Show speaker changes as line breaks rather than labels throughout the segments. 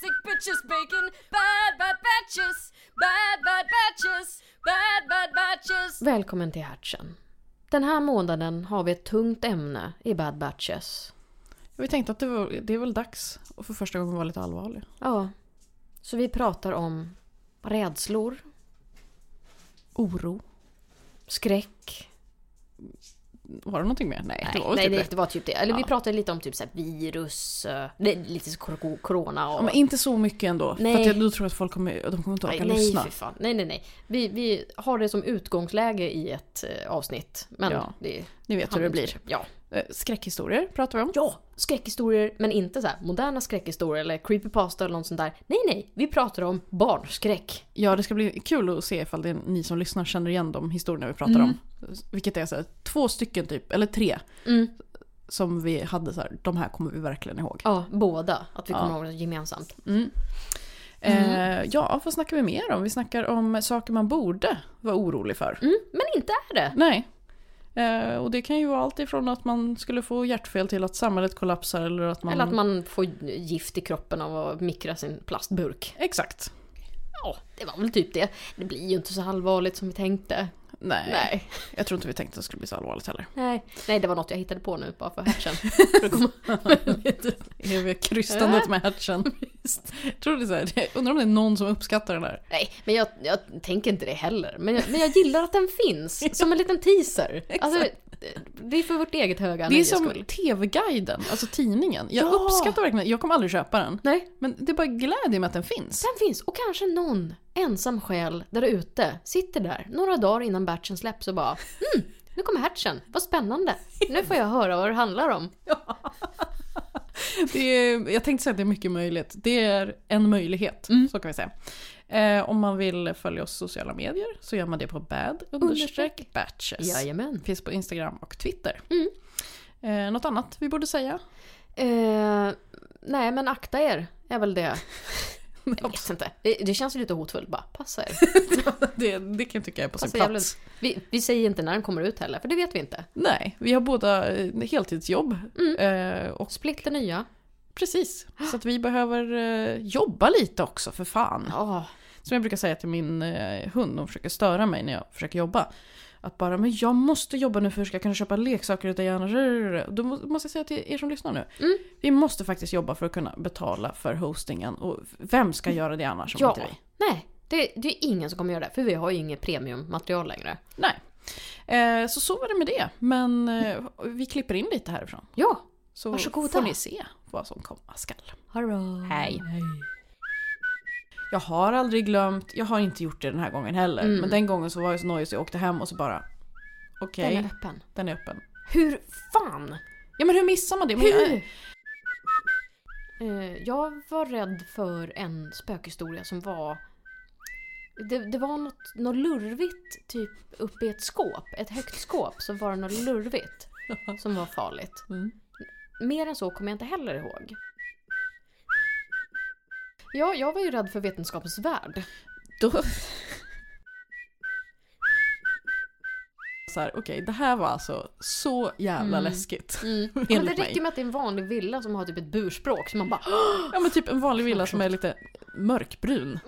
sandwiches, bacon, bad bad batches, bad bad batches, bad bad batches.
Välkommen till Hatchen. Den här månaden har vi ett tungt ämne i Bad Batches.
Vi tänkte att det, var, det är väl dags att för första gången vara lite allvarlig.
Ja, så vi pratar om rädslor,
Oro.
skräck.
Var det någonting mer? Nej, det var väl
nej,
typ
det,
det.
det var typ det. Eller vi
Ja.
pratade lite om typ så här virus, eh, det är lite så kor- corona och...
Ja, men inte så mycket ändå. För
Nej.
att jag, då tror jag att folk kommer, de kommer inte
nej,
orka
nej,
lyssna.
för fan. Nej, nej, nej. Vi, vi har det som utgångsläge i ett eh, avsnitt. Men
Ja.
det
Ni vet hur det blir.
Ja.
Eh, Skräckhistorier pratar vi om.
ja, skräckhistorier, men inte så här moderna skräckhistorier eller creepypasta eller något sånt där. Nej, nej, vi pratar om barnskräck.
Ja, det ska bli kul att se ifall det är ni som lyssnar känner igen de historierna vi pratar om. Vilket är så här, två stycken typ, eller tre.
Mm.
Som vi hade så här, de här kommer vi verkligen ihåg.
Ja, båda. Att vi
Ja.
kommer ihåg det gemensamt.
Mm.
Mm.
Eh, ja, vad snackar vi mer om? Vi snackar om saker man borde vara orolig för.
Mm, men inte är det.
Nej. Eh, och det kan ju vara allt ifrån att man skulle få hjärtfel till att samhället kollapsar eller att man...
Eller att man får gift i kroppen av att mikra sin plastburk.
Exakt.
Ja, det var väl typ det. Det blir ju inte så allvarligt som vi tänkte.
Nej.
Nej.
Jag tror inte vi tänkte att det skulle bli så allvarligt heller.
Nej, Nej det var något jag hittade på nu bara för hatchen. För att komma- lite-
Eviga krystandet med hatchen. tror det är så här, det- undrar om det är någon som uppskattar den här.
Nej, men jag, jag tänker inte det heller. Men jag, men jag gillar att den finns. Som en liten teaser. Alltså, det är för vårt eget höga
Det är
nöjes
som
skull.
TV-guiden, alltså tidningen. Jag
Ja!
uppskattar verkligen Jag kommer aldrig köpa den.
Nej,
Men det bara glädjer mig att den finns.
den finns. Och kanske någon ensam själ där ute sitter där några dagar innan batchen släpps och bara mm, nu kommer hatchen. Vad spännande. Nu får jag höra vad det handlar om.
Det är, jag tänkte säga att det är mycket möjligt. Det är en möjlighet, så kan vi säga. Eh, om man vill följa oss i sociala medier så gör man det på
Understreck.
bad-batches.
Jajamän.
Finns på Instagram och Twitter.
Mm.
Eh, något annat vi borde säga?
Eh, nej, men akta er är väl det. Jag vet inte. Det, det känns ju lite hotfullt bara. Passa er.
det, det kan Alltså, jag tycka är på sin
Passa
plats.
jävligt. Vi, vi säger inte när den kommer ut heller, för det vet vi inte.
Nej, vi har båda eh, heltidsjobb. Eh, och
Split är nya.
precis, så att vi behöver eh, jobba lite också för fan.
Ja.
Som jag brukar säga till min eh, hund, hon försöker störa mig när jag försöker jobba. Att bara, men jag måste jobba nu för ska jag kunna köpa leksaker åt dig annars. Då må- måste jag säga till er som lyssnar nu.
Mm.
Vi måste faktiskt jobba för att kunna betala för hostingen. Och vem ska göra det annars om
Mm. Ja.
inte vi?
Nej, det, det är ingen som kommer göra det, för vi har ju inget premiummaterial längre.
Nej. Eh, så så var det med det. Men eh, vi klipper in lite härifrån.
Ja,
Så
Varsågoda.
får ni se vad som komma skall.
hallå.
Hej. Jag har aldrig glömt, jag har inte gjort det den här gången heller.
Mm.
Men den gången så var jag så nojig så jag åkte hem och så bara Okej,
Den är öppen.
den är öppen.
Hur fan?
Ja men hur missar man det? Men
Hur?
jag,
Eh, jag var rädd för en spökhistoria som var... Det, det var något, något lurvigt typ uppe i ett skåp. Ett högt skåp så var det något lurvigt som var farligt.
Mm.
Mer än så kommer jag inte heller ihåg. Ja, jag var ju rädd för Vetenskapens Värld.
då... så här, okej det här var alltså så jävla
Mm.
läskigt.
Mm. Ja, Men det
Enligt mig.
räcker med att det är en vanlig villa som har typ ett burspråk så man bara
Ja men typ en vanlig villa som är lite mörkbrun.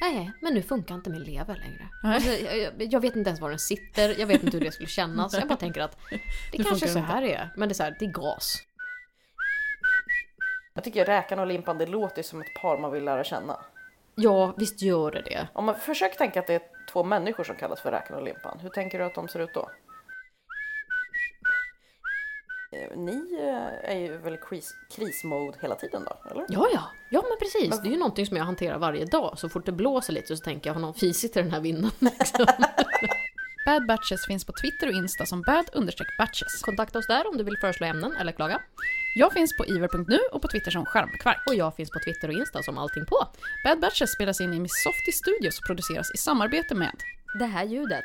Nej, men nu funkar inte min lever längre.
Nej.
Alltså, jag, jag- jag vet inte ens var den sitter, jag vet inte hur det skulle kännas. Jag bara tänker att det kanske
funkar
så
den
här är. Men det är så här, det är gas.
Jag tycker räkan och limpan det låter som ett par man vill lära känna.
Ja, visst gör det det.
Om man försöker tänka att det är två människor som kallas för räkan och limpan, hur tänker du att de ser ut då? Eh, Ni är ju väl krismode hela tiden då, eller?
Ja, ja. Ja, men precis. Det är ju någonting som jag hanterar varje dag. Så fort det blåser lite så tänker jag, har någon fisit i den här vinden? Liksom.
Bad Batches finns på Twitter och Insta som bad-batches.
Kontakta oss där om du vill föreslå ämnen eller klaga.
Jag finns på iver.nu och på Twitter som skärmkvark.
Och jag finns på Twitter och Insta som allting på.
Bad Batches spelas in i Missofty Studios och produceras i samarbete med
Det här ljudet.